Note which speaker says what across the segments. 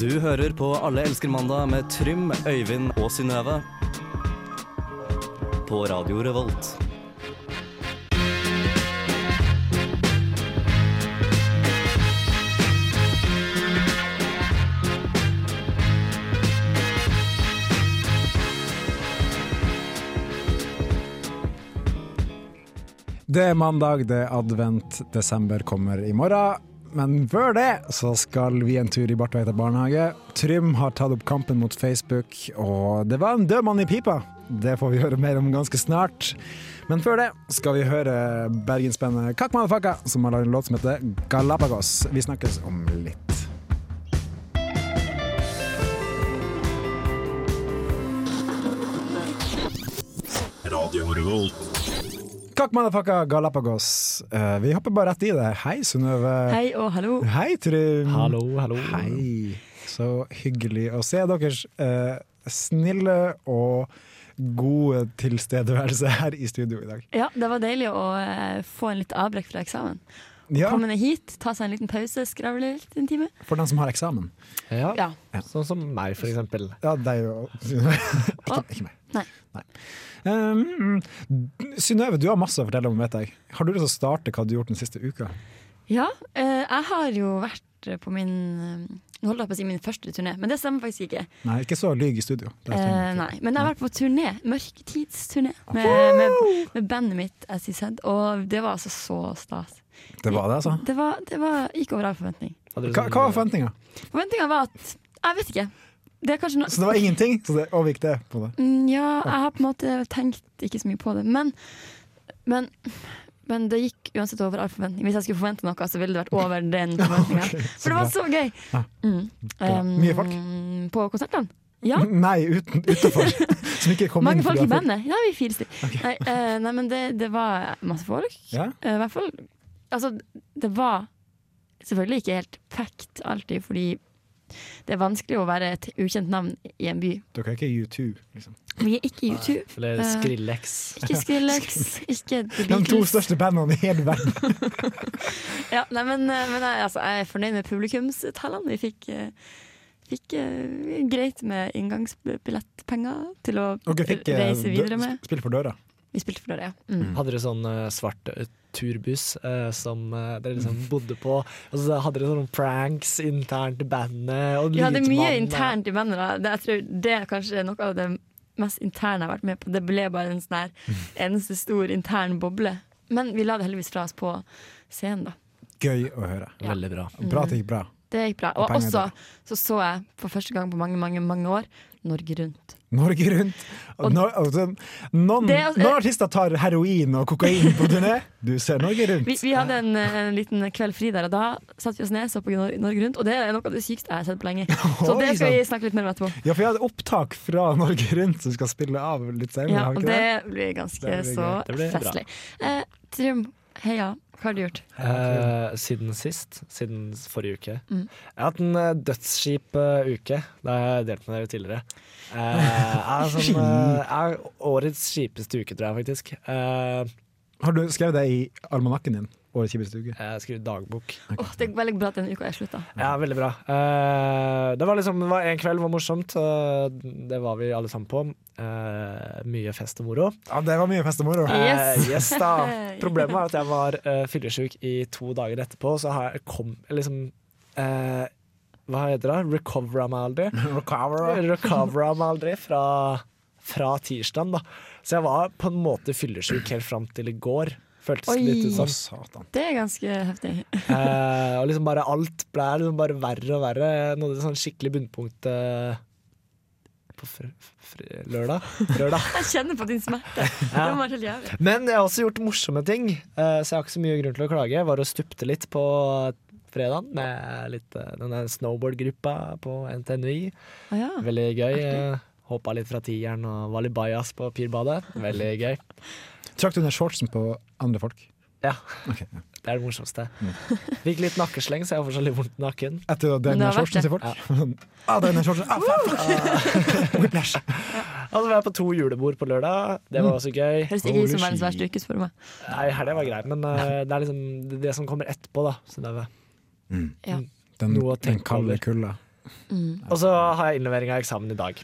Speaker 1: Du hører på Alle elsker mandag med Trym, Øyvind og Synnøve. På Radio Revolt.
Speaker 2: Det er mandag, det er advent, desember kommer i morgen. Men før det så skal vi en tur i Bartveita barnehage. Trym har tatt opp kampen mot Facebook, og det var en død mann i pipa. Det får vi høre mer om ganske snart. Men før det skal vi høre bergensbandet Kakk Madafakka, som har lagd en låt som heter Galapagos. Vi snakkes om litt.
Speaker 3: Radio Revolt.
Speaker 2: Kakk Madafakka Galapagos. Eh, vi hopper bare rett i det. Hei, Synnøve.
Speaker 4: Hei og hallo.
Speaker 2: Hei, Trym.
Speaker 5: Hallo, hallo.
Speaker 2: Mm. Hei, så hyggelig å se deres eh, snille og gode tilstedeværelse her i studio i dag.
Speaker 4: Ja, det var deilig å eh, få en litt avbrekk fra eksamen.
Speaker 2: Ja,
Speaker 4: Komme ned hit, ta seg en liten pause, skravle litt en time.
Speaker 2: for den som har eksamen.
Speaker 5: Ja.
Speaker 4: Ja.
Speaker 5: Sånn som meg, for eksempel.
Speaker 2: Ja, det er jo Ikke, ikke meg.
Speaker 4: Nei.
Speaker 2: Um, Synnøve, du har masse å fortelle om, vet jeg. Har du lyst til å starte hva du har gjort den siste uka?
Speaker 4: Ja, eh, jeg har jo vært på min eh, Nå holdt jeg på å si min første turné, men det stemmer faktisk ikke.
Speaker 2: Nei, ikke så lyg i studio. Det er
Speaker 4: Eh,
Speaker 2: synd.
Speaker 4: nei. Men jeg har vært på turné, mørketidsturné, med, med, med bandet mitt As You Said, og det var altså så stas.
Speaker 2: Det var det, altså.
Speaker 4: Det, var, det var, gikk over all forventning.
Speaker 5: Hadde du
Speaker 2: Hva,
Speaker 5: sånn-
Speaker 2: hva var forventninga?
Speaker 4: Forventninga var at Jeg vet ikke. Det er kanskje noe
Speaker 2: Så det var ingenting? Så det overgikk det på det?
Speaker 4: Mm, Ja, jeg har på en måte tenkt ikke så mye på det. Men, men, men det gikk uansett over all forventning. Hvis jeg skulle forvente noe, så ville det vært over den forventninga.
Speaker 2: så
Speaker 4: For det
Speaker 2: bra.
Speaker 4: var så gøy!
Speaker 2: Ja.
Speaker 4: Mm.
Speaker 2: Bra.
Speaker 4: Um,
Speaker 2: Mye folk? Mm.
Speaker 4: På konsertene. Ja.
Speaker 2: Nei, uten, utenfor. Som ikke kom
Speaker 4: Mange
Speaker 2: inn. fordi det
Speaker 4: folk i
Speaker 2: var fullt.
Speaker 4: bandet. Ja, vi er fire stykker. Nei, eh, nei, men det, det var masse folk.
Speaker 2: Ja?
Speaker 4: Eh, I hvert fall Altså, det var selvfølgelig ikke helt packed alltid, fordi det er vanskelig å være et ukjent navn i en by.
Speaker 2: Dere er ikke U2, liksom.
Speaker 4: Vi er ikke YouTube.
Speaker 5: Eller
Speaker 4: Eh,
Speaker 5: Skrillex.
Speaker 4: Ikke Skrillex, ikke The
Speaker 2: De to
Speaker 4: Beatles.
Speaker 2: største bandene i hele verden.
Speaker 4: Ja, nei, men men jeg, altså, jeg er fornøyd med publikumstallene. Vi fikk, eh, fikk eh, greit med inngangsbillettpenger til å
Speaker 2: Dere fikk eh,
Speaker 4: reise videre
Speaker 2: dø-
Speaker 4: med.
Speaker 2: sp- spill for døra.
Speaker 4: Vi spilte for dere, ja. Mm.
Speaker 5: Hadde dere sånn eh, svart eh, turbuss eh, som eh, dere liksom bodde på? Og så hadde dere sånne pranks internt i bandet? Og
Speaker 4: Vi hadde mye
Speaker 5: lydmannen, eh,
Speaker 4: internt i bandet. da. Det, jeg tror det er kanskje noe av det mest interne jeg har vært med på. Det ble bare en sånn her eneste stor intern boble. Men vi la det heldigvis fra oss på scenen, da.
Speaker 2: Gøy å høre.
Speaker 5: Veldig bra.
Speaker 2: Bra at det gikk bra.
Speaker 4: Det gikk bra. Og
Speaker 2: Penger
Speaker 4: også
Speaker 2: der.
Speaker 4: så så jeg for første gang på mange, mange, mange år Norge Rundt.
Speaker 2: Norge rundt. Og når, altså, noen,
Speaker 4: Det er altså-
Speaker 2: noen artister tar heroin og kokain på turné. Du ser Norge
Speaker 4: Vi,
Speaker 2: rundt.
Speaker 4: vi hadde en, eh, en liten kveld fri der, og da satte vi oss ned så på Nor- Norge Rundt. Og det er noe av det sykeste jeg har sett på lenge. Så det skal vi snakke litt mer om etterpå.
Speaker 2: Ja, for jeg hadde opptak fra Norge rundt som vi skal spille av litt senere.
Speaker 4: Ja,
Speaker 2: har vi
Speaker 4: og
Speaker 2: ikke
Speaker 4: det blir ganske
Speaker 2: Det blir
Speaker 4: så
Speaker 2: gøy.
Speaker 5: Det blir bra.
Speaker 4: festlig. Eh, Trym, heia. Hva har du gjort?
Speaker 5: Eh, siden sist, siden forrige uke.
Speaker 4: Mm.
Speaker 5: Jeg har hatt en eh, dødsskip eh, uke. Det har jeg delt med dere tidligere. Eh, er sånn, eh, er årets kjipeste uke, tror jeg faktisk. Eh,
Speaker 2: Har du skrevet det i almanakken din? Årets kjipeste uke?
Speaker 5: jeg skriver dagbok.
Speaker 4: Åh, det er veldig bra at den uka er slutta.
Speaker 5: Ja, veldig bra. Eh, det var liksom det var en kveld var morsomt. eh, det var vi alle sammen på. Eh, mye fest og moro.
Speaker 2: Ja, det var mye fest og moro.
Speaker 5: Eh,
Speaker 4: Yes.
Speaker 5: yes da. Problemet var at jeg var uh, fyllesyk i to dager etterpå, så har jeg kom jeg liksom eh, Hva heter det? Recovera meg aldri.
Speaker 2: Recover.
Speaker 5: Recovera meg aldri fra, fra tirsdagen, da. Så jeg var på en måte fyllesyk helt fram til i går. Føltes
Speaker 4: Oi.
Speaker 5: litt ut
Speaker 2: Å,
Speaker 5: som.
Speaker 2: satan.
Speaker 4: Det er ganske heftig.
Speaker 5: Eh, og liksom bare alt ble liksom bare verre og verre. Jeg nådde et sånn skikkelig bunnpunkt eh, på fr fr lørdag. lørdag.
Speaker 4: Jeg kjenner på din smerte. Det
Speaker 5: Ja.
Speaker 4: var helt jævlig.
Speaker 5: Men jeg har også gjort morsomme ting, eh, så jeg har ikke så mye grunn til å klage. Jeg var og stupte litt på fredagen med litt, eh, denne snowboardgruppa på NTNUI.
Speaker 4: Å ja.
Speaker 5: Veldig gøy. eh, Hoppa litt fra tieren og var litt bajas på pirbadet. Veldig gøy.
Speaker 2: Trakk du ned shortsen på andre folk?
Speaker 5: Ja,
Speaker 2: Ok, ja.
Speaker 5: det er det morsomste. Fikk litt nakkesleng, så jeg har fortsatt litt vondt i nakken.
Speaker 2: Etter å dele
Speaker 4: Men det
Speaker 2: ned
Speaker 4: har vært
Speaker 2: shortsen til folk? Ah, dele ned shortsen. Ah, faen. Whiplash.
Speaker 5: Altså, vi var på to julebord på lørdag. Det var også gøy.
Speaker 4: Høres ikke ut som
Speaker 2: Holy
Speaker 4: verdens verste
Speaker 2: shit.
Speaker 4: yrkesform.
Speaker 5: Nei, helga var grei, men eh, det er liksom det- det som kommer etterpå, da. Så det er,
Speaker 4: Ja.
Speaker 2: Den,
Speaker 5: Noe å
Speaker 2: den
Speaker 5: tenke
Speaker 2: kalde
Speaker 5: over.
Speaker 2: kulda.
Speaker 5: Og så har jeg innlevering av eksamen i dag.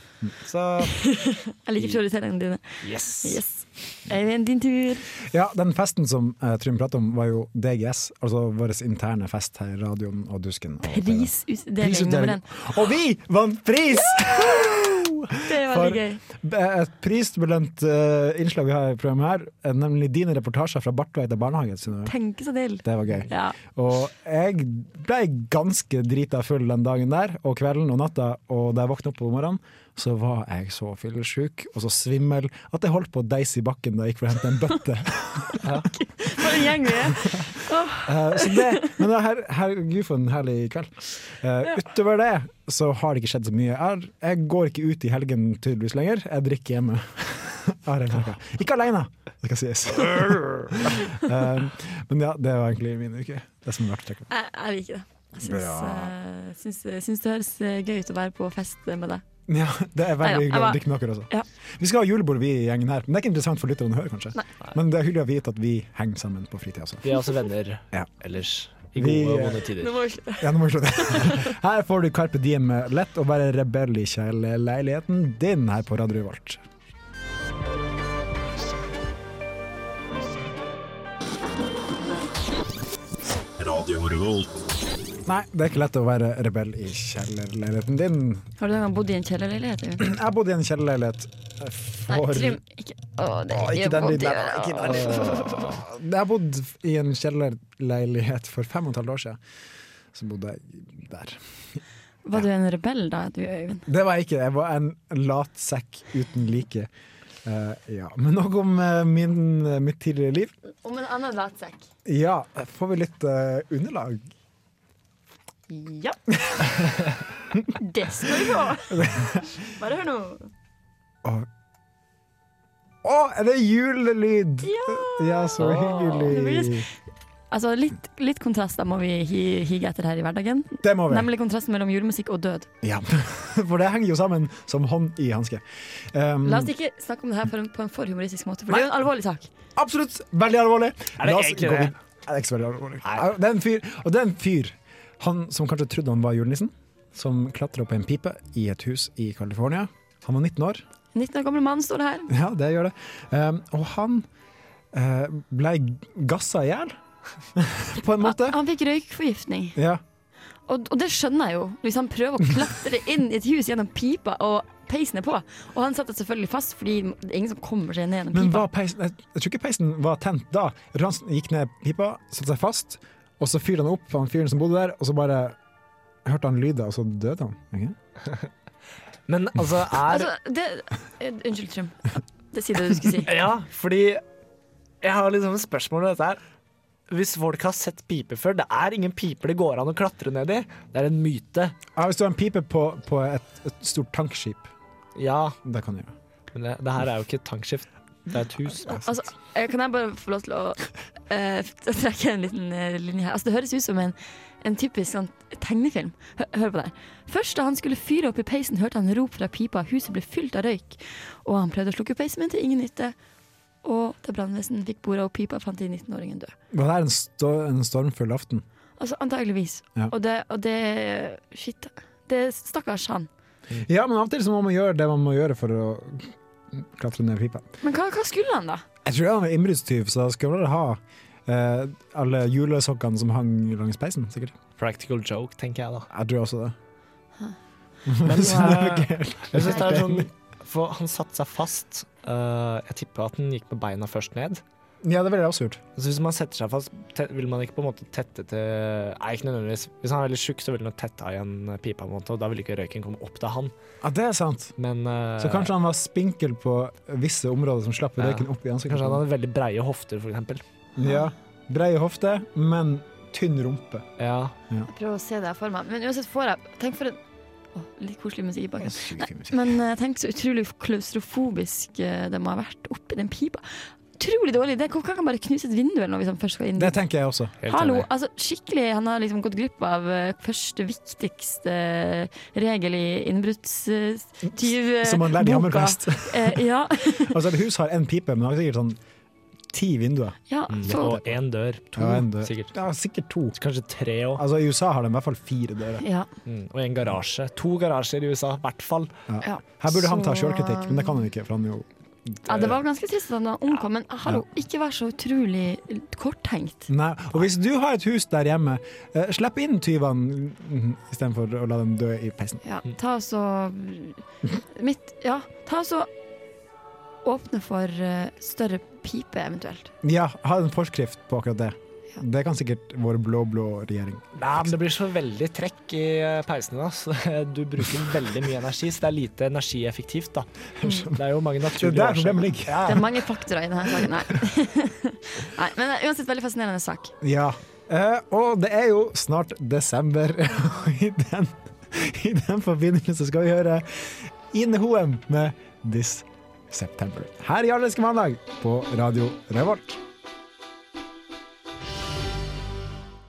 Speaker 5: Så
Speaker 4: Jeg liker prioriteringene dine.
Speaker 5: yes.
Speaker 4: Yes. Øyvind, din tur.
Speaker 2: Ja, den festen som eh, Trym pratet om, var jo DGS, altså vår interne fest her i radioen og Dusken. og TV.
Speaker 4: Prisutdeling nummer én.
Speaker 2: Og vi vant pris!
Speaker 4: Det er
Speaker 2: For-
Speaker 4: veldig gøy.
Speaker 2: Et prisbelønt eh, innslag vi har i programmet her, eh, nemlig dine reportasjer fra Bartveit og barnehagen. Synnøve.
Speaker 4: Tenke seg til.
Speaker 2: Det var gøy.
Speaker 4: Ja.
Speaker 2: Og jeg ble ganske drita full den dagen der, og kvelden og natta. Og da jeg våkna opp om morgenen, så var jeg så fyllesyk og så svimmel at jeg holdt på å deise i bakken da jeg gikk for å hente en bøtte.
Speaker 4: For en gjeng vi er.
Speaker 2: Eh, så det, men det her, herregud, for en herlig kveld. Eh, utover det så har det ikke skjedd så mye. Jeg, jeg går ikke ut i helgen tydeligvis lenger. Jeg drikker hjemme. Jeg har helt merket. ikke aleine, det skal sies. Eh, men ja, det var egentlig min uke. Det som har vært å trekke.
Speaker 4: Jeg, jeg liker det. Jeg syns, eh, syns, syns det høres eh, gøy ut å være på fest med deg.
Speaker 2: Ja, det er
Speaker 4: Neida,
Speaker 2: veldig
Speaker 4: jeg
Speaker 2: hyggelig å
Speaker 4: var-
Speaker 2: drikke med dere også.
Speaker 4: Ja.
Speaker 2: Vi skal ha julebord, vi i gjengen her. Men det er ikke interessant for lytterne å høre, kanskje.
Speaker 4: Nei.
Speaker 2: Men det er hyggelig å vite at vi henger sammen på fritida også.
Speaker 5: Vi er også venner
Speaker 2: Ja.
Speaker 5: ellers. I
Speaker 2: Vi,
Speaker 5: gode og
Speaker 2: eh,
Speaker 5: vonde tider.
Speaker 4: Nå må vi slutte.
Speaker 2: Ja, nå må vi slutte. Her får du Carpe Diem med 'Lett å være rebell i kjærleiligheten din' her på Radio Revolt.
Speaker 3: Radio Revolt.
Speaker 2: Nei, det er ikke lett å være rebell i kjellerleiligheten din.
Speaker 4: Har du en gang bodd i en kjellerleilighet? Øyvind?
Speaker 2: Jeg bodde i en kjellerleilighet
Speaker 4: Nei,
Speaker 2: for
Speaker 4: Trym. Ikke, å,
Speaker 2: Å,
Speaker 4: det gjør
Speaker 2: ikke den
Speaker 4: vondt i
Speaker 2: lyden. der,
Speaker 4: øret.
Speaker 2: ikke den lyden. Jeg bodde i en kjellerleilighet for fem og et halvt år siden. Så bodde jeg der.
Speaker 4: Var du en rebell da, du Øyvind?
Speaker 2: Det var jeg ikke. Jeg var en latsekk uten like. Eh, ja. Men nok om eh, min, mitt tidligere liv.
Speaker 4: Om en annen latsekk.
Speaker 2: Ja, får vi litt eh, underlag?
Speaker 4: Ja. det skal du få. Bare hør nå.
Speaker 2: Å, Å, er det julelyd? Ja, så
Speaker 4: Det
Speaker 2: hyggelig.
Speaker 4: blir- Altså, litt, litt kontrast da må vi hi- hige etter her i hverdagen.
Speaker 2: Det må vi.
Speaker 4: Nemlig kontrasten mellom julemusikk og død.
Speaker 2: Ja. For det henger jo sammen som hånd i hanske. Um,
Speaker 4: La oss ikke snakke om det her på en, på en for humoristisk måte, for det er jo en alvorlig sak.
Speaker 2: Absolutt! Veldig alvorlig.
Speaker 5: det
Speaker 2: La oss
Speaker 5: egentlig
Speaker 2: gå
Speaker 5: det?
Speaker 2: vid- Nei, det er ikke så veldig alvorlig. Det er en fyr, og det er en fyr han, som kanskje trodde han var julenissen, som klatra på en pipe i et hus i California. Han var 19 år.
Speaker 4: 19 år gamle mann står det her.
Speaker 2: Ja, det gjør det. Um, og han eh, ble gassa i hjel, på en måte.
Speaker 4: Han, han fikk røykforgiftning.
Speaker 2: Ja.
Speaker 4: Og, og det skjønner jeg jo. Hvis han prøver å klatre inn i et hus gjennom pipa, og peisen er på. Og han setter selvfølgelig fast, fordi det er ingen som kommer seg ned gjennom
Speaker 2: Men
Speaker 4: pipa.
Speaker 2: var peisen, jeg, jeg tror ikke peisen var tent da. Ransen gikk ned pipa, satte seg fast, og så fyrte han opp han fyren som bodde der, og så bare hørte han lyder, og så døde han. Ok?
Speaker 5: Men altså, er
Speaker 4: Altså, det, eh, unnskyld, Trym. Det sier det du skulle si.
Speaker 5: Ja, fordi jeg har liksom et spørsmål om dette her. Hvis folk har sett piper før, det er ingen piper det går an å klatre ned i. Det er en myte.
Speaker 2: Ja, hvis du har en pipe på, på et, et stort tankskip,
Speaker 5: Ja,
Speaker 2: det kan du gjøre.
Speaker 5: men det, det her er jo ikke et tankskift. Det er et hus.
Speaker 4: Altså, eh, kan jeg bare få lov til å eh, trekke en liten eh, linje her? Altså, det høres ut som en, en typisk sånn, tegnefilm. Hø hør på det her. Først da han skulle fyre opp i peisen, hørte han rop fra pipa. Huset ble fylt av røyk. Og han prøvde å slukke peisen, men til ingen nytte. Og da brannvesenet fikk bordet opp pipa, fant de 19-åringen død.
Speaker 2: Var det her en, sto, en stormfull aften?
Speaker 4: Altså, antageligvis.
Speaker 2: Ja.
Speaker 4: Og, det, og det Shit. Det Stakkars han.
Speaker 2: Ja, men av og til så må man gjøre det man må gjøre for å klatre ned pipa.
Speaker 4: Men hva, hva skulle han, da?
Speaker 2: Jeg tror han var innbruddstyv, så da skulle han ha eh, alle julesokkene som hang langs peisen, sikkert.
Speaker 5: Practical joke, tenker jeg da.
Speaker 2: Jeg tror også det.
Speaker 5: Men
Speaker 2: Så det er
Speaker 5: eh,
Speaker 2: vel ikke-
Speaker 5: jeg synes det er sånn For han satte seg fast. Eh, jeg tipper at han gikk med beina først ned.
Speaker 2: Ja, det ville jeg også gjort.
Speaker 5: Så hvis man setter seg fast, te vil man ikke på en måte tette til Nei, ikke nødvendigvis. Hvis han er veldig tjukk, så vil han tette av igjen eh, pipa, på en måte, og da vil ikke røyken komme opp til han.
Speaker 2: Ja, det er sant.
Speaker 5: Men eh,
Speaker 2: Så kanskje han var spinkel på visse områder som slapp
Speaker 5: Ja.
Speaker 2: røyken opp i ansiktet.
Speaker 5: Kanskje han hadde veldig breie hofter, for eksempel.
Speaker 2: Ja. Brei hofte, men tynn rumpe.
Speaker 5: Ja.
Speaker 4: Jeg prøver å se det her for meg. Men uansett får jeg Tenk for en Å, litt koselig musikk i bakgrunnen. Men eh, tenk så utrolig klaustrofobisk eh, det må ha vært oppi den pipa. Utrolig dårlig idé. Hvorfor kan han bare knuse et vindu eller noe hvis han først skal inn
Speaker 2: Det tenker jeg også.
Speaker 5: Helt
Speaker 4: Hallo,
Speaker 5: enig.
Speaker 4: altså skikkelig Han har liksom gått glipp av eh, første viktigste eh, regel i
Speaker 2: Som man lærte i
Speaker 4: innbruddstyvboka.
Speaker 2: Hammerfest.
Speaker 4: Uh, ja.
Speaker 2: Altså, et hus har én pipe, men det har sikkert sånn ti vinduer.
Speaker 4: Ja, så,
Speaker 5: Mm, Og én dør. To,
Speaker 2: Ja, en dør.
Speaker 5: sikkert.
Speaker 2: Ja, sikkert to.
Speaker 5: Kanskje tre òg.
Speaker 2: Altså, I USA har de i hvert fall fire dører.
Speaker 4: ja.
Speaker 5: Mm. Og en garasje. To garasjer i USA, i hvert fall.
Speaker 4: Ja.
Speaker 2: Her burde han ta
Speaker 4: Så,
Speaker 2: sjølkritikk, men det kan han ikke. for han er jo...
Speaker 4: ja, det var ganske trist at han omkom, men hallo, ikke vær så utrolig korttenkt.
Speaker 2: Nei, og Hvis du har et hus der hjemme, eh, slipp inn tyvene mm, istedenfor å la dem dø i peisen.
Speaker 4: Ja, ta så Mitt Ja, ta så Åpne for eh, større pipe, eventuelt.
Speaker 2: Ja, ha en forskrift på akkurat det.
Speaker 4: Ja.
Speaker 2: Det kan sikkert vår blå-blå regjering.
Speaker 5: Nei, men Det blir så veldig trekk i eh, peisen din. ass. Du bruker veldig mye energi, så det er lite energieffektivt. da. Mm. Det er jo mange
Speaker 2: Det er
Speaker 5: naturlige
Speaker 2: der problemet ligger.
Speaker 4: Det er mange faktorer i denne saken. Nei. Nei, men eh, uansett veldig fascinerende sak.
Speaker 2: Ja. Eh, og det er jo snart desember, og i den, i den forbindelse skal vi høre Ine Hoem med 'This September'. Her i Allerske mandag på Radio Revolt.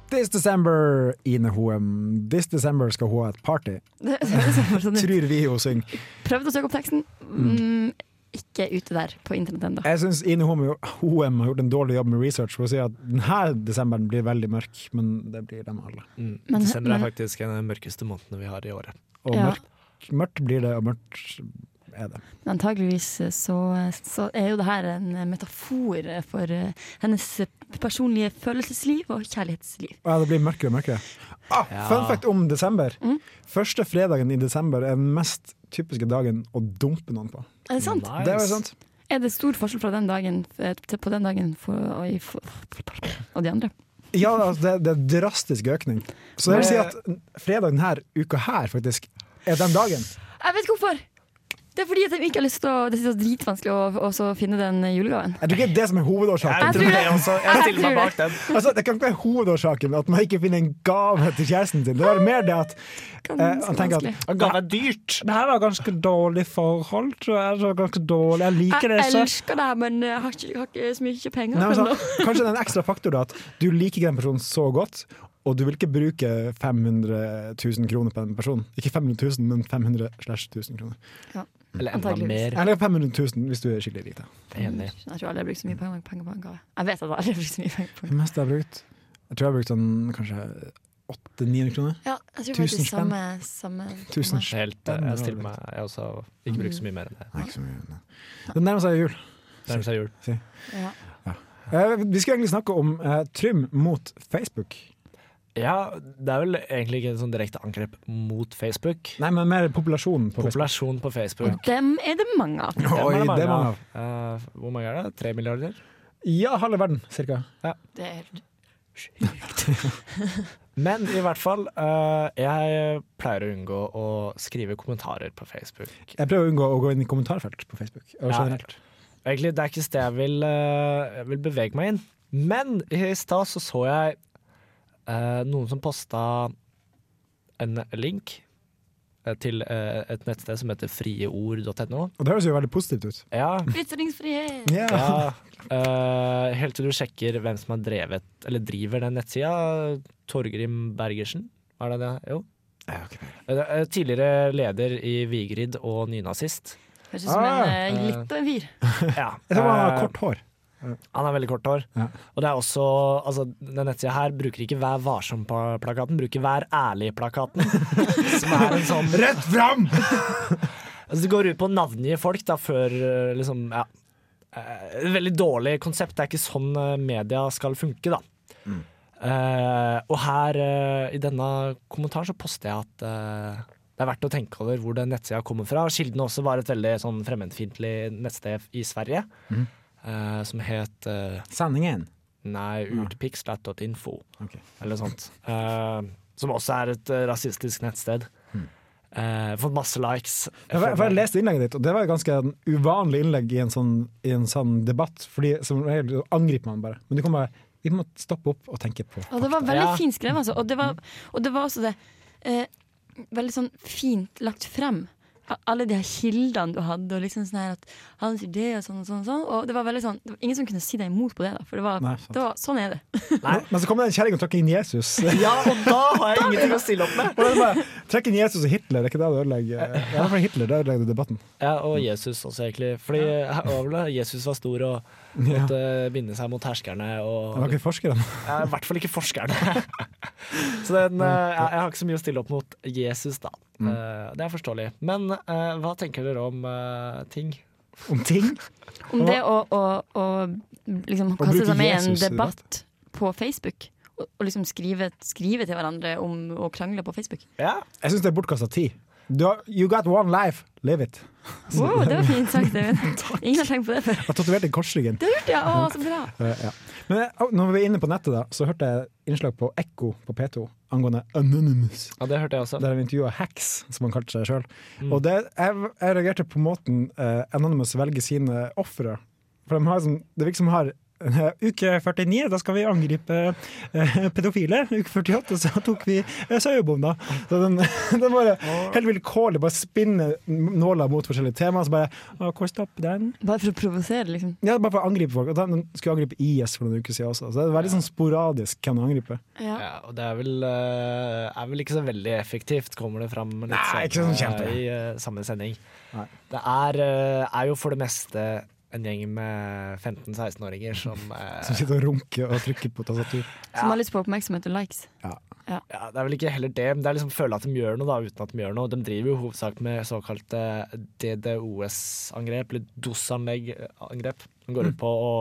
Speaker 2: This December, Ine Hoem. This December skal hun ha et party,
Speaker 4: Det, det høres bare sånn ut.
Speaker 2: tror vi hun synger.
Speaker 4: Prøvde å søke opp teksten. Mm, ikke ute der på internett ennå.
Speaker 2: Jeg syns Ine Hoem, Hoem har gjort en dårlig jobb med research. Hun sier at denne desemberen blir veldig mørk, men det blir den alle.
Speaker 5: Mm.
Speaker 4: Men-
Speaker 5: Desember er
Speaker 4: men-
Speaker 5: faktisk en av de mørkeste månedene vi har i året.
Speaker 2: Og
Speaker 4: Ja.
Speaker 2: mørkt, mørkt blir det, og mørkt er det.
Speaker 4: Men Antageligvis eh, så, så er jo det her en eh, metafor eh, for eh, hennes eh, personlige følelsesliv og kjærlighetsliv.
Speaker 2: Ja, det blir mørkere og mørkere. Ah, Fun fact om desember. Første fredagen i desember er den mest typiske dagen å dumpe noen på.
Speaker 4: Er det sant?
Speaker 5: Nice.
Speaker 2: Det er jo sant.
Speaker 4: Er det stor forskjell fra den dagen eh, til på den dagen for, og, i, for, og de andre?
Speaker 2: Ja, altså, det, det er drastisk økning. Så det vil si at fredag denne uka her faktisk er den dagen.
Speaker 4: Jeg vet hvorfor! Det er fordi at de ikke har lyst til å Det er så dritvanskelig å, å så finne den eh, julegaven.
Speaker 2: Jeg tror ikke det er det som er hovedårsaken.
Speaker 4: Jeg tror det.
Speaker 5: også. Jeg
Speaker 4: Jeg
Speaker 5: stiller meg
Speaker 4: tror
Speaker 5: bak den.
Speaker 2: Altså, det kan ikke være hovedårsaken at man ikke finner en gave til kjæresten sin. Det var mer det at eh,
Speaker 4: Ganske
Speaker 2: han tenker
Speaker 4: vanskelig.
Speaker 2: at
Speaker 5: Gave er dyrt.
Speaker 2: det her var ganske dårlig forhold, tror jeg. Det var ganske dårlig. Jeg liker
Speaker 4: Jeg
Speaker 2: det så
Speaker 4: elsker deg, men jeg har ikke, jeg har ikke så mye penger.
Speaker 2: Nei, men
Speaker 4: ennå.
Speaker 2: sånn, kanskje det er en ekstra faktor da, at du liker den personen så godt, og du vil ikke bruke 500 000 kroner på den personen. Ikke 500 000, men 500 slash 1000 kroner.
Speaker 5: Eller enda
Speaker 4: Antageligvis.
Speaker 5: mer.
Speaker 2: Eller 500 000 hvis du er skikkelig rik. da.
Speaker 5: Enig.
Speaker 4: Jeg tror aldri jeg har brukt så mye penger penger på en gave. Jeg vet at jeg aldri har brukt så mye penger på en
Speaker 2: Det meste jeg har brukt, jeg tror jeg har brukt sånn kanskje 800-900 kroner.
Speaker 4: Ja, jeg tror
Speaker 2: Tusen
Speaker 4: faktisk
Speaker 2: spenn.
Speaker 4: samme, samme
Speaker 2: Tusen
Speaker 4: spenn.
Speaker 5: Helt, eh, jeg stiller meg Jeg også ikke bruker så mye mer enn det.
Speaker 2: Nei, ikke så mye. nei. Det nærmer seg jul.
Speaker 5: Nærmer seg jul.
Speaker 4: Ja.
Speaker 2: Eh, vi skulle egentlig snakke om eh, Trym mot Facebook.
Speaker 5: Ja, det er vel egentlig ikke en sånn direkte angrep mot Facebook.
Speaker 2: Nei, men mer populasjonen på Facebook.
Speaker 5: Populasjon på Facebook.
Speaker 4: Og dem er det mange av.
Speaker 5: Dem er
Speaker 2: Oi, det
Speaker 5: mange
Speaker 2: er mange
Speaker 5: av. Eh, hvor mange er det? Tre milliarder?
Speaker 2: Ja, halve verden, cirka.
Speaker 4: Det er,
Speaker 5: Men i hvert fall, eh, jeg pleier å unngå å skrive kommentarer på Facebook.
Speaker 2: Jeg prøver å unngå å gå inn i kommentarfelt på Facebook. og
Speaker 5: Ja.
Speaker 2: generelt.
Speaker 5: Egentlig, det er ikke et sted jeg vil, eh, jeg vil bevege meg inn. Men i stad så, så jeg eh, noen som posta en link eh, til eh, et nettsted som heter frieord.no.
Speaker 2: Og det høres jo veldig positivt ut.
Speaker 5: Ja,
Speaker 4: Ytringsfrihet!
Speaker 2: Ja.
Speaker 5: ja. eh, helt til du sjekker hvem som har drevet, eller driver den nettsida. Torgrim Bergersen, er det det? Jo. Eh, Tidligere leder i Vigrid og nynazist.
Speaker 4: Høres ut som
Speaker 2: Ah,
Speaker 4: en eh, litt av en fyr.
Speaker 5: Ja.
Speaker 2: Jeg tror man har
Speaker 5: eh,
Speaker 2: kort hår.
Speaker 5: Han har veldig kort hår.
Speaker 2: Ja.
Speaker 5: Og det er også altså, Den nettsida her bruker ikke Vær varsom-plakaten, bruker Vær ærlig-plakaten. som er en sånn
Speaker 2: Rett fram!
Speaker 5: altså, Det går ut på å navngi folk da før eh, liksom Ja. Eh, veldig dårlig konsept. Det er ikke sånn eh, media skal funke, da. Eh, og her eh, i denne kommentaren så poster jeg at eh, det er verdt å tenke over hvor den nettsida kommer fra. Kilden også var et veldig sånn fremmedfiendtlig nettsted i Sverige eh, som het eh,
Speaker 2: Sendingen.
Speaker 5: Nei, urpixlat.info
Speaker 2: Ok.
Speaker 5: eller noe sånt. Eh, som også er et eh, rasistisk nettsted. Eh, fått masse likes.
Speaker 2: Jeg, for jeg leste innlegget ditt, og det var et ganske en uvanlig innlegg i en sånn, i en sånn debatt. Fordi som regel så angriper man bare. Men du kan bare Vi må stoppe opp og tenke på
Speaker 4: Og det var veldig
Speaker 5: Ja.
Speaker 4: fint skrevet, altså. Og det var, og det var også det eh, Veldig sånn fint lagt frem. A- Alle de her kildene du hadde, og liksom sånn her at han sier det og sånn og sånn. Og sånn Og det var veldig sånn Det var ingen som kunne si deg imot på det, da. For det var,
Speaker 2: Nei, sant.
Speaker 4: det var Sånn er det.
Speaker 5: Nei.
Speaker 2: Men så kom det en kjerring og trakk inn Jesus.
Speaker 5: Ja, og da har jeg ingenting å stille opp med!
Speaker 2: Og det er bare, Trekk inn Jesus og Hitler, er ikke det du ødelegger? Ja, i hvert fall Hitler, da ødelegger du debatten.
Speaker 5: Ja, og Jesus også, egentlig. Fordi eh, hva var det? Jesus var stor, og
Speaker 2: Ja.
Speaker 5: Måtte binde seg mot herskerne og
Speaker 2: Det var ikke forskerne.
Speaker 5: Eh, I hvert fall ikke forskerne. så den, eh, jeg, jeg har ikke så mye å stille opp mot Jesus, da. Eh, det er forståelig. Men eh, hva tenker dere om eh, ting?
Speaker 2: Om ting?
Speaker 4: Om det å, å, å liksom kaste
Speaker 2: bruke
Speaker 4: seg med i en
Speaker 2: Jesus i
Speaker 4: debatt på Facebook. Og, og liksom skrive, skrive til hverandre om å krangle på Facebook.
Speaker 5: Ja,
Speaker 2: Jeg syns det er bortkasta tid. Du har, you got one life, live it.
Speaker 4: Wow, det var fint sagt, David. Ingen har tenkt på det før.
Speaker 2: Jeg har tatovert den korsryggen.
Speaker 4: Det har gjort, ja. Å, så bra.
Speaker 2: Eh, ja. Men eh, når vi er inne på nettet, da, så hørte jeg innslag på Ekko på P2 angående Anonymous.
Speaker 5: det hørte jeg også.
Speaker 2: Der han intervjua Hacks, som han kalte seg sjøl. Og det, jeg, jeg reagerte på måten eh, Anonymous velger sine ofre. For de har sånn, det virker som de har eh, Uke 49, da skal vi angripe eh, pedofile. Uke 48, så tok vi uh, sauebomba. Så den, den bare helt vilkårlig bare spinner nåla mot forskjellige temaer. Så bare «Å, Hvor stopper den?
Speaker 4: Bare for å provosere, liksom.
Speaker 2: Ja, bare for å angripe folk. Og da den skulle angripe IS for noen uker siden også. Så det er veldig sånn sporadisk hvem du angriper.
Speaker 4: Ja.
Speaker 5: Ja, og det er vel, eh, er vel ikke så veldig effektivt, kommer det fram litt
Speaker 2: Nei, ikke sånn kjempe.
Speaker 5: i eh, samme sending.
Speaker 2: Nei.
Speaker 5: Det er, eh, er jo for det meste en gjeng med 15-16-åringer som, eh,
Speaker 2: Som sitter og runker og trykker på tastatur.
Speaker 4: Som har lyst på oppmerksomhet og likes.
Speaker 5: ja, Det er vel ikke heller det, men det er liksom føle at de gjør noe da, uten at de gjør noe. De driver jo hovedsak med eh, såkalte DDoS-angrep, eller DOS-anlegg-angrep. Som går ut på å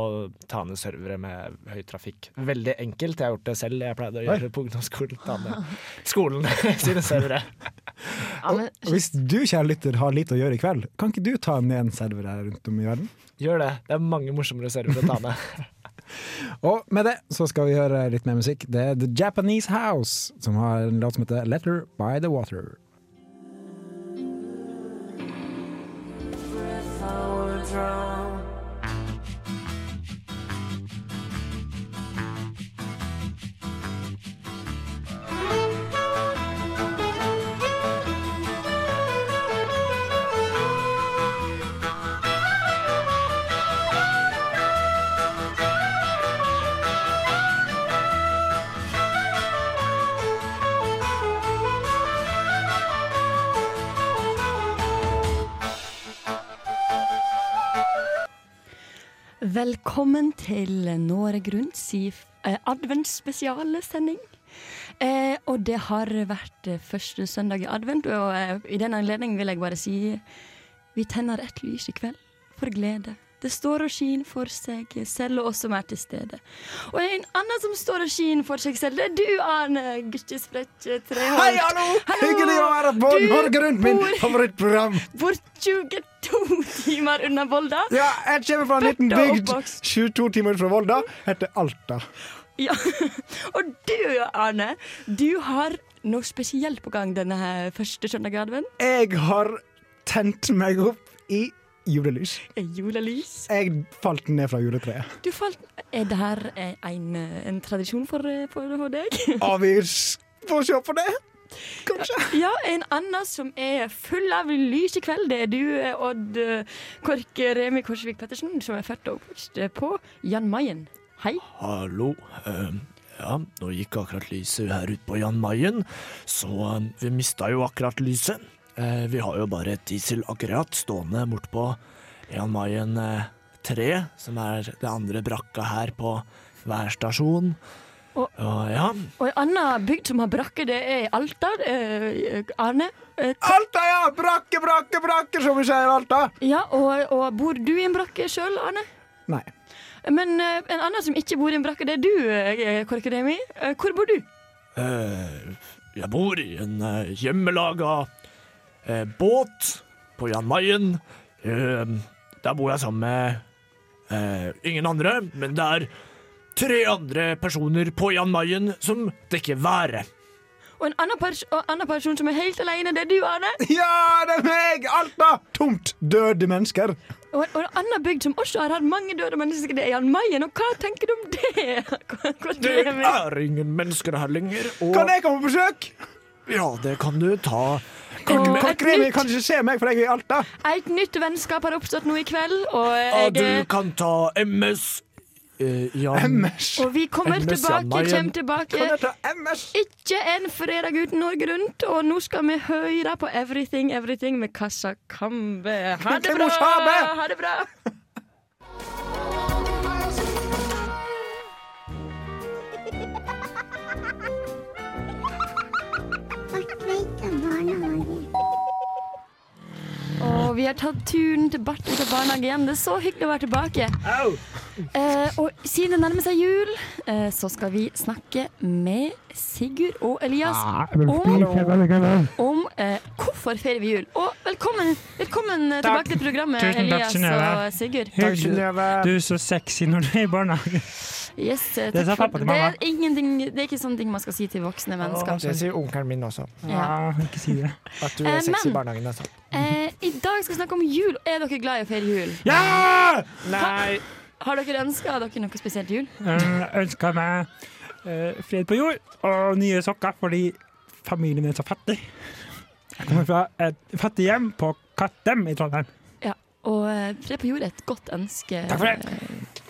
Speaker 5: ta ned servere med høy trafikk. Veldig enkelt. Jeg har gjort det selv. Jeg pleide å gjøre det på ungdomsskolen. Ta ned skolen sine servere.
Speaker 4: Ja, men,
Speaker 2: Og hvis du, kjære lytter, har lite å gjøre i kveld, kan ikke du ta ned en server her rundt om i verden?
Speaker 5: Gjør det. Det er mange morsommere servere å ta ned.
Speaker 2: Og med det så skal vi høre litt mer musikk. Det er The Japanese House, som har en låt som heter 'Letter by the Water'.
Speaker 4: Velkommen til Norge Rundt si eh, adventsspesialsending. Eh, og det har vært eh, første søndag i advent, og eh, i den anledning vil jeg bare si Vi tenner et lys i kveld for glede. Det står og skin for seg selv og oss som er til stede. Og en annen som står og skin for seg selv, det er du, Arne Guttesprett Treholt.
Speaker 2: Hei, hallo! Hyggelig å være på
Speaker 4: Du
Speaker 2: Norge Rundt, min
Speaker 4: bor-
Speaker 2: favorittprogram!
Speaker 4: Bor 22 timer unna Volda.
Speaker 2: Ja, jeg kommer fra en liten
Speaker 4: Født og
Speaker 2: bygd
Speaker 4: oppvokst.
Speaker 2: 22 timer fra Volda, heter Alta.
Speaker 4: Ja. Og du, Arne, du har noe spesielt på gang denne her første søndag i advent.
Speaker 2: Jeg har tent meg opp i julelys.
Speaker 4: Er Julelys.
Speaker 2: Jeg falt ned fra juletreet.
Speaker 4: Du falt Er det her eh, en, eh, en tradisjon for, eh, for, for deg?
Speaker 2: Og vi s- får se på det, kanskje.
Speaker 4: Ja, en annen som er full av lys i kveld, det er du, eh, Odd eh, Kork Remi Korsvik Pettersen, som er født og oppvokst eh, på Jan Mayen. Hei.
Speaker 5: Hallo. ehm, ja, nå gikk akkurat lyset her ute på Jan Mayen, så ehm, vi mista jo akkurat lyset. Eh, vi har jo bare et dieselaggregat stående bortpå Jan Mayen eh, 3, som er det andre brakka her på hver stasjon.
Speaker 4: Og-
Speaker 5: Og ja,
Speaker 4: Og en annen bygd som har brakke, det er i Alta. Eh, Arne. Eh,
Speaker 2: Alta, ja! Brakke, brakke, brakke, som vi sier i Alta.
Speaker 4: ja, og, og bor du i en brakke sjøl, Arne?
Speaker 2: Nei.
Speaker 4: Men eh, en annen som ikke bor i en brakke, det er du, eh, Korkeremi. Eh, hvor bor du?
Speaker 5: eh, jeg bor i en eh, hjemmelaga eh, båt på Jan Mayen. Eh, der bor jeg sammen med eh, ingen andre, men det er tre andre personer på Jan Mayen som dekker været.
Speaker 4: Og en annen, pers og en annen person som er helt alene, det er du, Arne.
Speaker 2: Ja, det er meg! Alta! Tomt, døde mennesker.
Speaker 4: Og, og en annen bygd som også har hatt mange døde mennesker, det er Jan Mayen. Og hva tenker du om det? Kor-
Speaker 5: Det
Speaker 4: Korkeremi?
Speaker 2: ah,
Speaker 5: er ingen mennesker her lenger, og
Speaker 2: Kan jeg komme på besøk?
Speaker 5: ja, det kan du ta.
Speaker 4: Og
Speaker 2: Kan
Speaker 4: Eh, et,
Speaker 2: Kremi kan
Speaker 4: nytt,
Speaker 2: ikke se meg, for jeg er i Alta.
Speaker 4: et nytt vennskap har oppstått nå i kveld, og,
Speaker 2: Ah,
Speaker 5: Ja,
Speaker 4: jeg,
Speaker 5: du
Speaker 4: eh,
Speaker 5: kan ta MS. Eh, Jan
Speaker 2: MS.
Speaker 4: og vi kommer
Speaker 5: MS Jan
Speaker 4: tilbake,
Speaker 5: Mayen.
Speaker 4: kommer
Speaker 2: Kan
Speaker 4: tilbake.
Speaker 2: jeg ta MS?
Speaker 4: Ikke en fredag uten Norge Rundt, og nå skal vi høre på Everything Everything med Kassa Kambe. Ha det bra!
Speaker 2: Klemmer Kambe!
Speaker 4: Ha det bra! Og vi har tatt turen til Bart ut av barnehage igjen. Det er så hyggelig å være tilbake.
Speaker 5: Au!
Speaker 4: Eh, og siden det nærmer seg jul, eh, så skal vi snakke med Sigurd og Elias
Speaker 6: Ah,
Speaker 4: om, om eh, hvorfor feirer vi jul. Og velkommen, velkommen eh,
Speaker 6: Takk.
Speaker 4: tilbake til programmet,
Speaker 6: Tusen takk,
Speaker 4: Elias
Speaker 6: Synnøve.
Speaker 4: og Sigurd.
Speaker 6: Du er så sexy når du er i barnehage.
Speaker 4: Yes, eh,
Speaker 6: Det sa
Speaker 4: takk for,
Speaker 6: pappa til
Speaker 4: det,
Speaker 6: mamma.
Speaker 4: er ingenting, det er ikke sånne ting man skal si til voksne mennesker.
Speaker 5: Det sier onkelen min også.
Speaker 4: Ja.
Speaker 6: Ja, ikke si det.
Speaker 5: At du
Speaker 4: Eh,
Speaker 5: er sexy
Speaker 4: men-
Speaker 5: i barnehagen. Altså.
Speaker 4: Eh, I dag skal vi snakke om jul. Er dere glad i å feire jul?
Speaker 6: Ja! Nei!
Speaker 4: Har dere ønska dere noe spesielt til jul?
Speaker 6: Jeg ønsker meg eh, fred på jord og nye sokker fordi familien min er så fattig. Jeg kommer fra et fattig hjem på Kattem i Trondheim.
Speaker 4: Og eh, fred på jord er et godt ønske.
Speaker 5: Takk for det.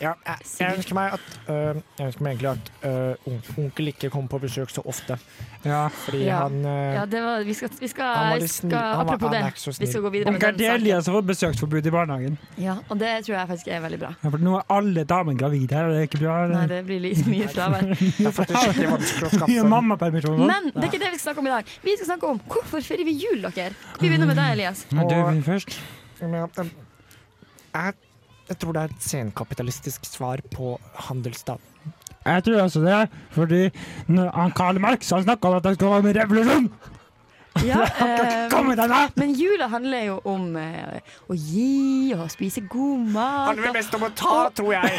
Speaker 5: Ja, jeg, jeg
Speaker 4: Sigurd.
Speaker 5: ønsker meg at øh, Jeg ønsker meg egentlig at øh, on- onkel ikke kommer på besøk så ofte,
Speaker 6: Ja.
Speaker 5: fordi
Speaker 4: Ja.
Speaker 5: han øh,
Speaker 4: Ja, det var, vi skal, vi skal,
Speaker 5: Han var litt
Speaker 4: vi
Speaker 5: snill.
Speaker 4: skal
Speaker 5: Han var-
Speaker 4: Apropos
Speaker 5: han
Speaker 4: det,
Speaker 5: er ikke så
Speaker 4: vi skal
Speaker 5: snill.
Speaker 4: gå videre med
Speaker 6: Onkel
Speaker 4: den
Speaker 6: det er
Speaker 4: saken.
Speaker 6: Elias som har fått besøksforbud i barnehagen.
Speaker 4: Ja, og det tror jeg faktisk er veldig bra.
Speaker 6: Ja, for nå er alle damene gravide her, og det er ikke
Speaker 5: Mm.
Speaker 6: bra.
Speaker 4: Nei, det blir litt mye fravær.
Speaker 5: Det er faktisk skikkelig vanskelig å
Speaker 6: Mye
Speaker 5: skaffe
Speaker 6: mammapermisjon. nå.
Speaker 4: Men det er ikke det vi skal snakke om i dag. Vi skal snakke om hvorfor feirer vi jul, dere? Vi begynner med deg, Elias.
Speaker 6: Men
Speaker 5: Og-
Speaker 6: Du først.
Speaker 5: Men, øh, jeg, jeg tror det er et senkapitalistisk svar på handelsstand.
Speaker 6: Jeg tror også det, fordi når han Karl Marx han snakka om at det skal være en revolusjon.
Speaker 4: Ja, eh,
Speaker 6: Kom med deg, da!
Speaker 4: men jula handler jo om eh, å gi og spise god mat.
Speaker 5: Handler
Speaker 4: og-
Speaker 5: mest om å ta, tror jeg.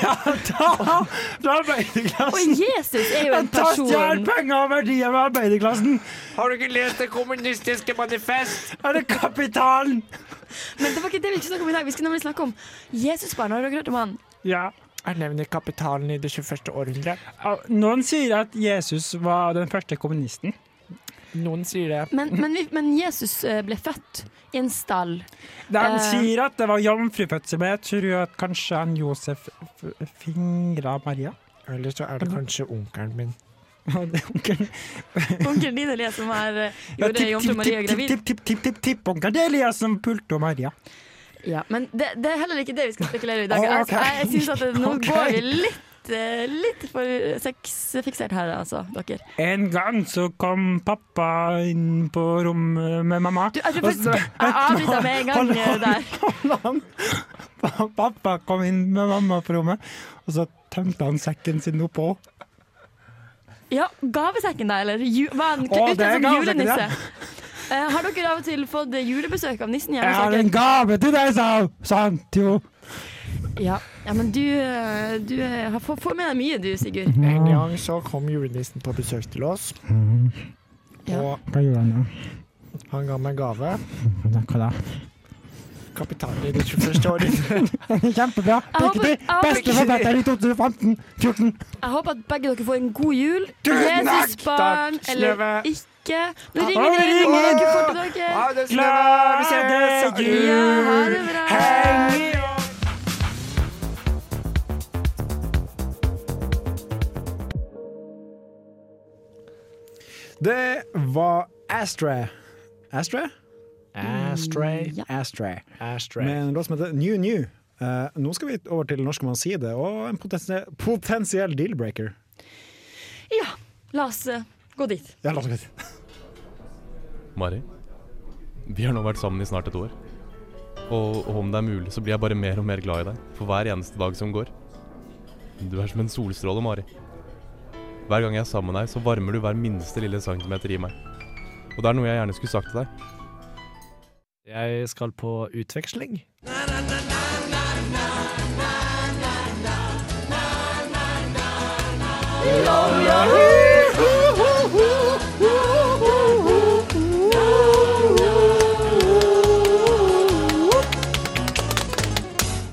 Speaker 6: Ta fra arbeiderklassen!
Speaker 4: Og Jesus er jo en
Speaker 6: Ta stjel
Speaker 4: person.
Speaker 6: penger og verdier fra arbeiderklassen!
Speaker 5: Har du ikke lest Det kommunistiske manifest?
Speaker 6: Er det kapitalen?
Speaker 4: Men det var ikke det vi skulle snakke om i dag. Vi skulle nemlig snakke om Jesusbarn. Har dere hørt om han?
Speaker 6: Ja.
Speaker 5: Jeg nevner kapitalen i det 21. århundret.
Speaker 6: Noen sier at Jesus var den første kommunisten.
Speaker 5: Noen sier det.
Speaker 4: Men, men, vi, men Jesus eh, ble født i en stall.
Speaker 6: De
Speaker 4: Eh.
Speaker 6: sier at det var jomfrufødsel, men jeg tror at kanskje han Josef f- fingra Maria.
Speaker 5: Eller så
Speaker 4: Mhm.
Speaker 5: er det kanskje onkelen min.
Speaker 6: Det er onkelen.
Speaker 4: Onkelen din Elias som har eh,
Speaker 6: Ja,
Speaker 4: gjorde jomfru Maria gravid.
Speaker 6: Tipp-tipp-tipp-tipp-tipp-onkel Elias som pulte Maria.
Speaker 4: Ja, men det, det er heller ikke det vi skal spekulere i i dag.
Speaker 6: Å,
Speaker 4: Jeg-
Speaker 6: Ah, ok.
Speaker 4: Jeg, jeg syns at det, nå
Speaker 6: Ok.
Speaker 4: går vi litt eh, Litt for sexfiksert her, altså, dere.
Speaker 6: En gang så kom pappa inn på rommet med mamma.
Speaker 4: Du, jeg tror faktisk jeg avbryter med en gang eh, der.
Speaker 6: Han- pappa kom inn med mamma på rommet, og så tømte han sekken sin oppå.
Speaker 4: Ja, gavesekken, da, eller? Ju, hva, er den?
Speaker 6: Å, det er
Speaker 4: Utdannet som
Speaker 6: gavesekken, ja.
Speaker 4: julenisse. Eh, har dere av og til fått julebesøk av nissen
Speaker 6: Jeg har en
Speaker 4: hjemme?
Speaker 6: gave til deg, sa han! Sa han til henne.
Speaker 4: Ja, ja, men du, eh, du eh, har fått fått med deg mye, du, Sigurd.
Speaker 6: Mhm.
Speaker 5: En gang så kom julenissen på besøk til oss,
Speaker 4: Ja.
Speaker 5: og
Speaker 6: Hva gjorde han da?
Speaker 5: han ga meg gave.
Speaker 6: Hva da?
Speaker 5: Kapitalen i det 21. århundret.
Speaker 6: Kjempebra!
Speaker 4: Jeg håper-
Speaker 6: Begge de
Speaker 4: jeg håper-
Speaker 6: beste forfatterne i 2015-14.
Speaker 4: Jeg håper at begge dere får en god jul.
Speaker 5: Tusen takk!
Speaker 4: Jesusbarn
Speaker 5: Takk,
Speaker 4: eller
Speaker 5: Synnøve.
Speaker 4: ikke. Nå
Speaker 6: Ja,
Speaker 4: ringer
Speaker 6: nå
Speaker 4: dere.
Speaker 6: ringer
Speaker 4: Nå
Speaker 6: det.
Speaker 4: dere får til dere.
Speaker 5: det er
Speaker 6: Glade
Speaker 4: Ja, ha
Speaker 6: jul!
Speaker 4: det bra.
Speaker 2: Det var Astra. Astra?
Speaker 5: Astray,
Speaker 4: Ja.
Speaker 2: Astra. Mm, Med
Speaker 5: astray.
Speaker 2: en låt som heter New New. Eh, nå skal vi over til norsk man sier det, og en potensiell, potensiell deal-breaker.
Speaker 4: Ja, la oss eh, gå dit.
Speaker 2: Ja, la oss gå dit.
Speaker 7: Mari, vi har nå vært sammen i snart et år. Og, og om det er mulig, så blir jeg bare mer og mer glad i deg for hver eneste dag som går. Du er som en solstråle, Mari. Hver gang jeg er sammen med deg, så varmer du hver minste lille centimeter i meg. Og det er noe jeg gjerne skulle sagt til deg.
Speaker 5: Jeg skal på utveksling.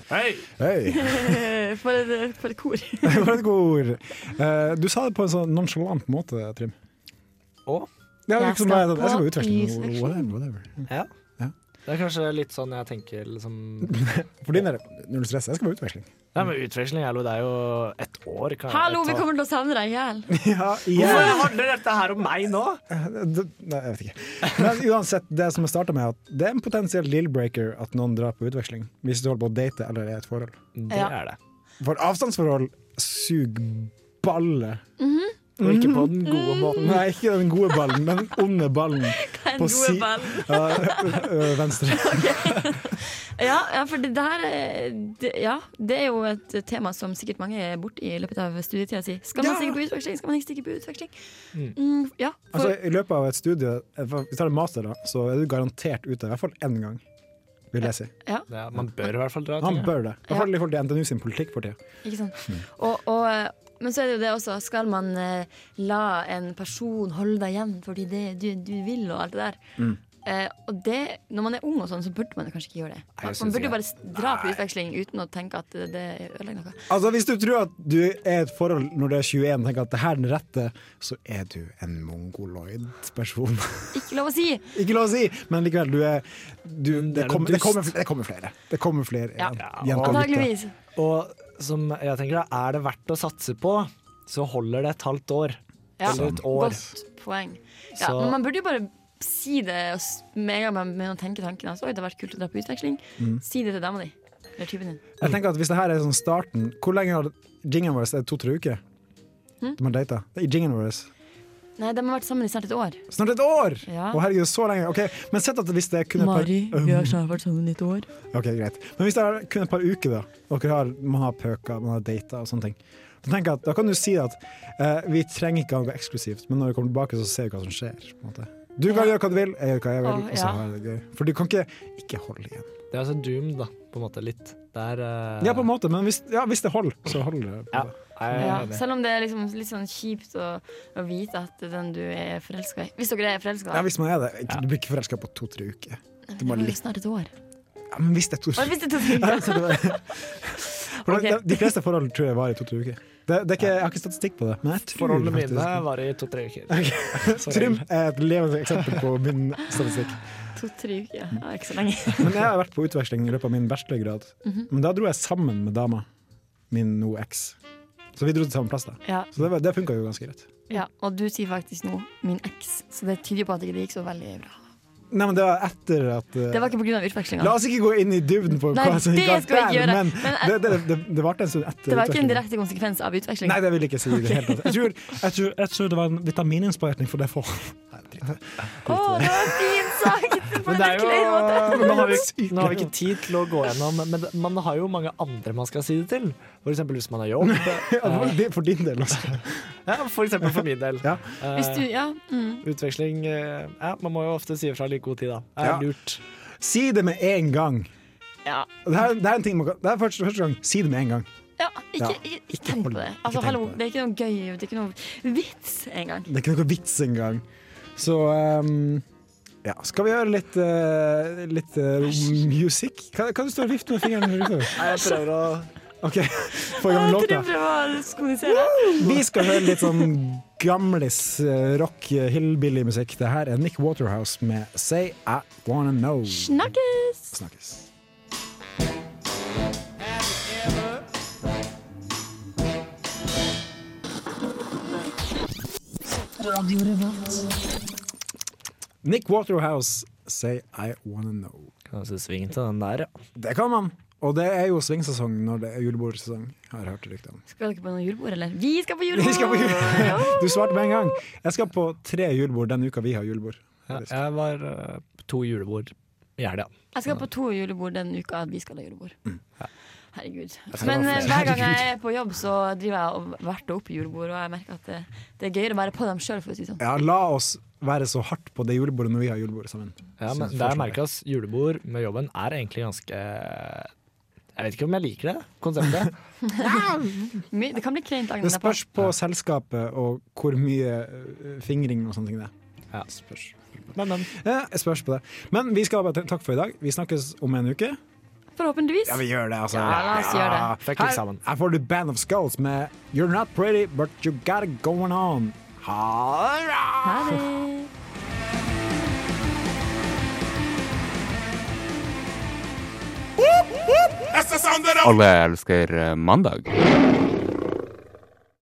Speaker 2: Hei.
Speaker 4: Eh, For et, for et kor.
Speaker 2: For et god ord. Eh, du sa det på en sånn nonchalant måte, Trym.
Speaker 5: Å?
Speaker 2: Ja,
Speaker 4: Jeg
Speaker 2: liksom,
Speaker 4: skal
Speaker 2: jeg, jeg skal
Speaker 4: på
Speaker 2: på utveksling.
Speaker 4: utveksling.
Speaker 2: Whatever, whatever.
Speaker 5: Ja.
Speaker 2: Ja.
Speaker 5: Det er kanskje litt sånn jeg tenker liksom
Speaker 2: For din del, null stress. Jeg skal på utveksling.
Speaker 5: Nei, men utveksling hallo, det er jo ett år. Kan
Speaker 4: Hallo, vi kommer til å savne deg i hjel.
Speaker 2: Ja,
Speaker 5: Hvorfor handler dette her om meg nå?
Speaker 2: Det- Nei, jeg vet ikke. Men uansett, det som jeg starta med, er at det er en potensiell deal-breaker at noen drar på utveksling hvis du holder på å date eller er i et forhold.
Speaker 5: Det
Speaker 4: Ja.
Speaker 5: er det.
Speaker 2: For avstandsforhold suger balle.
Speaker 5: og ikke på den gode
Speaker 4: Mm.
Speaker 5: måten.
Speaker 2: Nei, ikke den gode ballen, men den onde ballen.
Speaker 4: Den
Speaker 2: På
Speaker 4: gode
Speaker 2: si-
Speaker 4: ballen.
Speaker 2: Ja, ø, ø, venstre.
Speaker 4: Ja, ja, for det der eh, det, Ja, det er jo et eh, tema som sikkert mange er borti i løpet av studietida si. Skal man
Speaker 2: Ja.
Speaker 4: stikke på utveksling? Skal man ikke stikke på utveksling? Mm, ja, for,
Speaker 2: Altså, I løpet av et studie, hvis du tar en master, da, så er du garantert ute i hvert fall én gang, vil jeg si.
Speaker 5: Ja, man bør i hvert fall dra.
Speaker 2: Han
Speaker 5: tenker jeg.
Speaker 2: bør det. I hvert fall i forhold til NTNU sin politikk for tida.
Speaker 4: ikke sant? Og, og, eh, men så er det jo det også. Skal man eh, la en person holde deg igjen fordi det du, du vil, og alt det der? Eh, og det, når man er ung, og sånn, så burde man kanskje ikke gjøre det. Man,
Speaker 5: jeg synes
Speaker 4: man burde
Speaker 5: ikke
Speaker 4: jo bare s- dra på utveksling uten å tenke at det, det ødelegger noe.
Speaker 2: Altså, Hvis du tror at du er i et forhold når du er 21 og tenker at det her er den rette, så er du en mongoloid person.
Speaker 4: Ikke lov å si!
Speaker 2: Ikke lov å si, men likevel, du er du,
Speaker 5: Det
Speaker 2: det,
Speaker 5: er
Speaker 2: kommer-
Speaker 5: en
Speaker 2: det, kommer,
Speaker 5: dust.
Speaker 2: det kommer flere. Det kommer flere eh,
Speaker 4: Ja.
Speaker 2: jenter og gutter.
Speaker 4: Antakeligvis.
Speaker 5: Og som jeg tenker da, er det verdt å satse på, så holder det et halvt år.
Speaker 4: Ja.
Speaker 5: Eller et år.
Speaker 4: Godt poeng. Ja,
Speaker 5: Så-
Speaker 4: men man burde jo bare si det og s- med en gang man begynner å tenke tanken altså, Oi, det har vært kult å dra på utveksling.
Speaker 2: Mm.
Speaker 4: Si det til dama di. Eller typen din.
Speaker 2: Jeg tenker at Hvis det her er sånn starten Hvor lenge har jingen vår er det to-tre uker? De har data. Det er jingen vår.
Speaker 4: Nei, de har vært sammen i snart et år.
Speaker 2: Snart et år!
Speaker 4: Ja.
Speaker 2: Å herregud, så lenge. Ok, Men sett at hvis det er kun et par Um.
Speaker 4: vi har snart vært sammen i et år.
Speaker 2: Ok, greit. Men hvis det er kun et par uker, da, og dere har, man har pøka, man har data og sånne ting, så tenker jeg at da kan du si at eh, vi trenger ikke ha noe eksklusivt, men når vi kommer tilbake, så ser vi hva som skjer. På en måte. Du kan
Speaker 4: Ja.
Speaker 2: gjøre hva du vil, jeg gjør hva jeg vil,
Speaker 4: Åh,
Speaker 2: og så
Speaker 4: ja.
Speaker 2: har jeg det gøy. For du kan ikke ikke holde igjen.
Speaker 5: Det er altså doomed, da, på en måte. Litt. Det er eh,
Speaker 2: Ja, på en måte, men hvis, ja, hvis det holder, så holder det. på
Speaker 5: Ja.
Speaker 2: en måte.
Speaker 5: jeg er
Speaker 4: Ja,
Speaker 5: enig.
Speaker 4: selv om det er liksom litt sånn kjipt å, å vite at den du er forelska i Hvis dere er forelska,
Speaker 2: Ja, hvis man er det. Ikke- Du blir ikke forelska på to-tre uker.
Speaker 4: det
Speaker 2: du må
Speaker 4: var jo
Speaker 2: litt-
Speaker 4: snart et år.
Speaker 2: Ja, men hvis det er to-tre
Speaker 4: Og hvis det tok litt
Speaker 2: Så det var- For det-
Speaker 4: Ok.
Speaker 2: De fleste forhold tror jeg varer i to-tre uker. Det, det er ikke, jeg har ikke statistikk på det. Men jeg tror
Speaker 5: Forholdene
Speaker 2: faktisk-
Speaker 5: mine varer i to-tre uker. Så-
Speaker 2: Trym er et levende eksempel på min statistikk.
Speaker 4: to-tre uker.
Speaker 2: Mm.
Speaker 4: Ja, ikke så lenge.
Speaker 2: Men jeg har vært på utveksling i løpet av min bachelorgrad.
Speaker 4: Mhm.
Speaker 2: Men da dro jeg sammen med dama, min nå eks. Så vi dro til samme plass da.
Speaker 4: Ja,
Speaker 2: Så det, var- det funka jo ganske greit.
Speaker 4: ja. Og du sier faktisk nå 'min eks', så det tyder jo på at det ikke gikk så veldig bra.
Speaker 2: Nei, men det var etter at eh,
Speaker 4: Det var ikke pga. utvekslinga.
Speaker 2: La oss ikke gå inn i dybden på
Speaker 4: Nei,
Speaker 2: hva som
Speaker 4: det
Speaker 2: gikk
Speaker 4: skal vi
Speaker 2: galt der,
Speaker 4: ikke gjøre.
Speaker 2: men
Speaker 4: Men,
Speaker 2: det, det, det, det varte en stund etter.
Speaker 4: Det var ikke en
Speaker 2: utvekslingen.
Speaker 4: direkte konsekvens av utveksling.
Speaker 2: Nei, det vil jeg ikke si. i Det hele tatt. Jeg tror, jeg tror, jeg tror det var en vitamininnsprøytning for det for.
Speaker 4: Å, det var fint sagt! På
Speaker 5: Men
Speaker 4: en
Speaker 5: det er
Speaker 4: litt
Speaker 5: jo
Speaker 4: klein måte.
Speaker 5: nå har, vi, nå har vi ikke tid til å gå gjennom, men det- man har jo mange andre man skal si det til. For eksempel hvis man har jobb. Eh,
Speaker 2: Ja, det- For din del også.
Speaker 5: Ja, for eksempel for min del.
Speaker 2: Ja.
Speaker 5: Eh,
Speaker 4: Hvis du, ja. Mm.
Speaker 5: Utveksling eh, ja, Man må jo ofte si ifra like god tid, da. Det er
Speaker 2: Ja.
Speaker 5: lurt.
Speaker 2: Si det med en gang.
Speaker 4: ja.
Speaker 2: Og Det her, det her er en ting man kan, det her er første, første gang. Si det med en gang.
Speaker 4: ja. Ikke,
Speaker 2: Ja.
Speaker 4: ikke, ikke tenk på det. Altså,
Speaker 2: tenk
Speaker 4: hallo,
Speaker 2: på det.
Speaker 4: det er ikke noe gøy, det er ikke noe vits engang.
Speaker 2: Det er ikke noe vits engang. Så ehm, ja, skal vi gjøre litt, uh, litt eh, musikk? Kan, kan du stå og vifte med fingeren? utover?
Speaker 5: Jeg prøver å
Speaker 2: OK, få i gang
Speaker 4: Jeg
Speaker 2: låta.
Speaker 4: tror jeg var skonisere.
Speaker 2: Vi skal høre litt sånn gamlis eh, rock, eh, hillbilly-musikk. Det her er Nick Waterhouse med Say I Wanna Know.
Speaker 4: Snakkes!
Speaker 2: Snakkes. Nick Waterhouse, Say I Wanna Know.
Speaker 5: Kan også svinge til den der, ja.
Speaker 2: Det kan man. Og det er jo svingsesong når det er julebordsesong, har jeg hørt rykte om.
Speaker 4: Skal dere på noe julebord, eller? Vi skal på julebord!
Speaker 2: Vi skal på jul- Du svarte med en gang. Jeg skal på tre julebord den uka vi har julebord.
Speaker 5: Jeg var eh, to julebord i helga.
Speaker 4: Jeg skal på to julebord den uka vi skal ha julebord. Herregud.
Speaker 2: Mm, skal
Speaker 4: Men
Speaker 2: ha flere.
Speaker 4: eh, hver gang jeg er på jobb, så driver jeg og verter opp julebord, og jeg merker at det, det er gøyere å være på dem sjøl, for å si det sånn.
Speaker 2: Ja, la oss være så hardt på det julebordet når vi har julebord sammen. Synes
Speaker 5: Ja, men det jeg
Speaker 2: fortsatt.
Speaker 5: merker oss, julebord med jobben er egentlig ganske Jeg vet ikke om jeg liker det konseptet.
Speaker 4: My- Det kan bli kleint dagen
Speaker 2: Det
Speaker 4: derpå.
Speaker 2: spørs på selskapet og hvor mye eh, fingring og sånne ting det er.
Speaker 5: Ja. Men, men.
Speaker 2: Ja, jeg spørs på det. Men vi skal bare ta- takk for i dag. Vi snakkes om en uke.
Speaker 4: Forhåpentligvis.
Speaker 2: Ja, vi gjør det, altså.
Speaker 4: Ja, la oss gjøre det.
Speaker 5: Fuck you
Speaker 2: Her,
Speaker 5: sammen.
Speaker 2: her får du Band of Skulls med You're Not Pretty, But You Got It Going On. Ha det! bra!
Speaker 4: Ha det.
Speaker 8: Alle elsker mandag.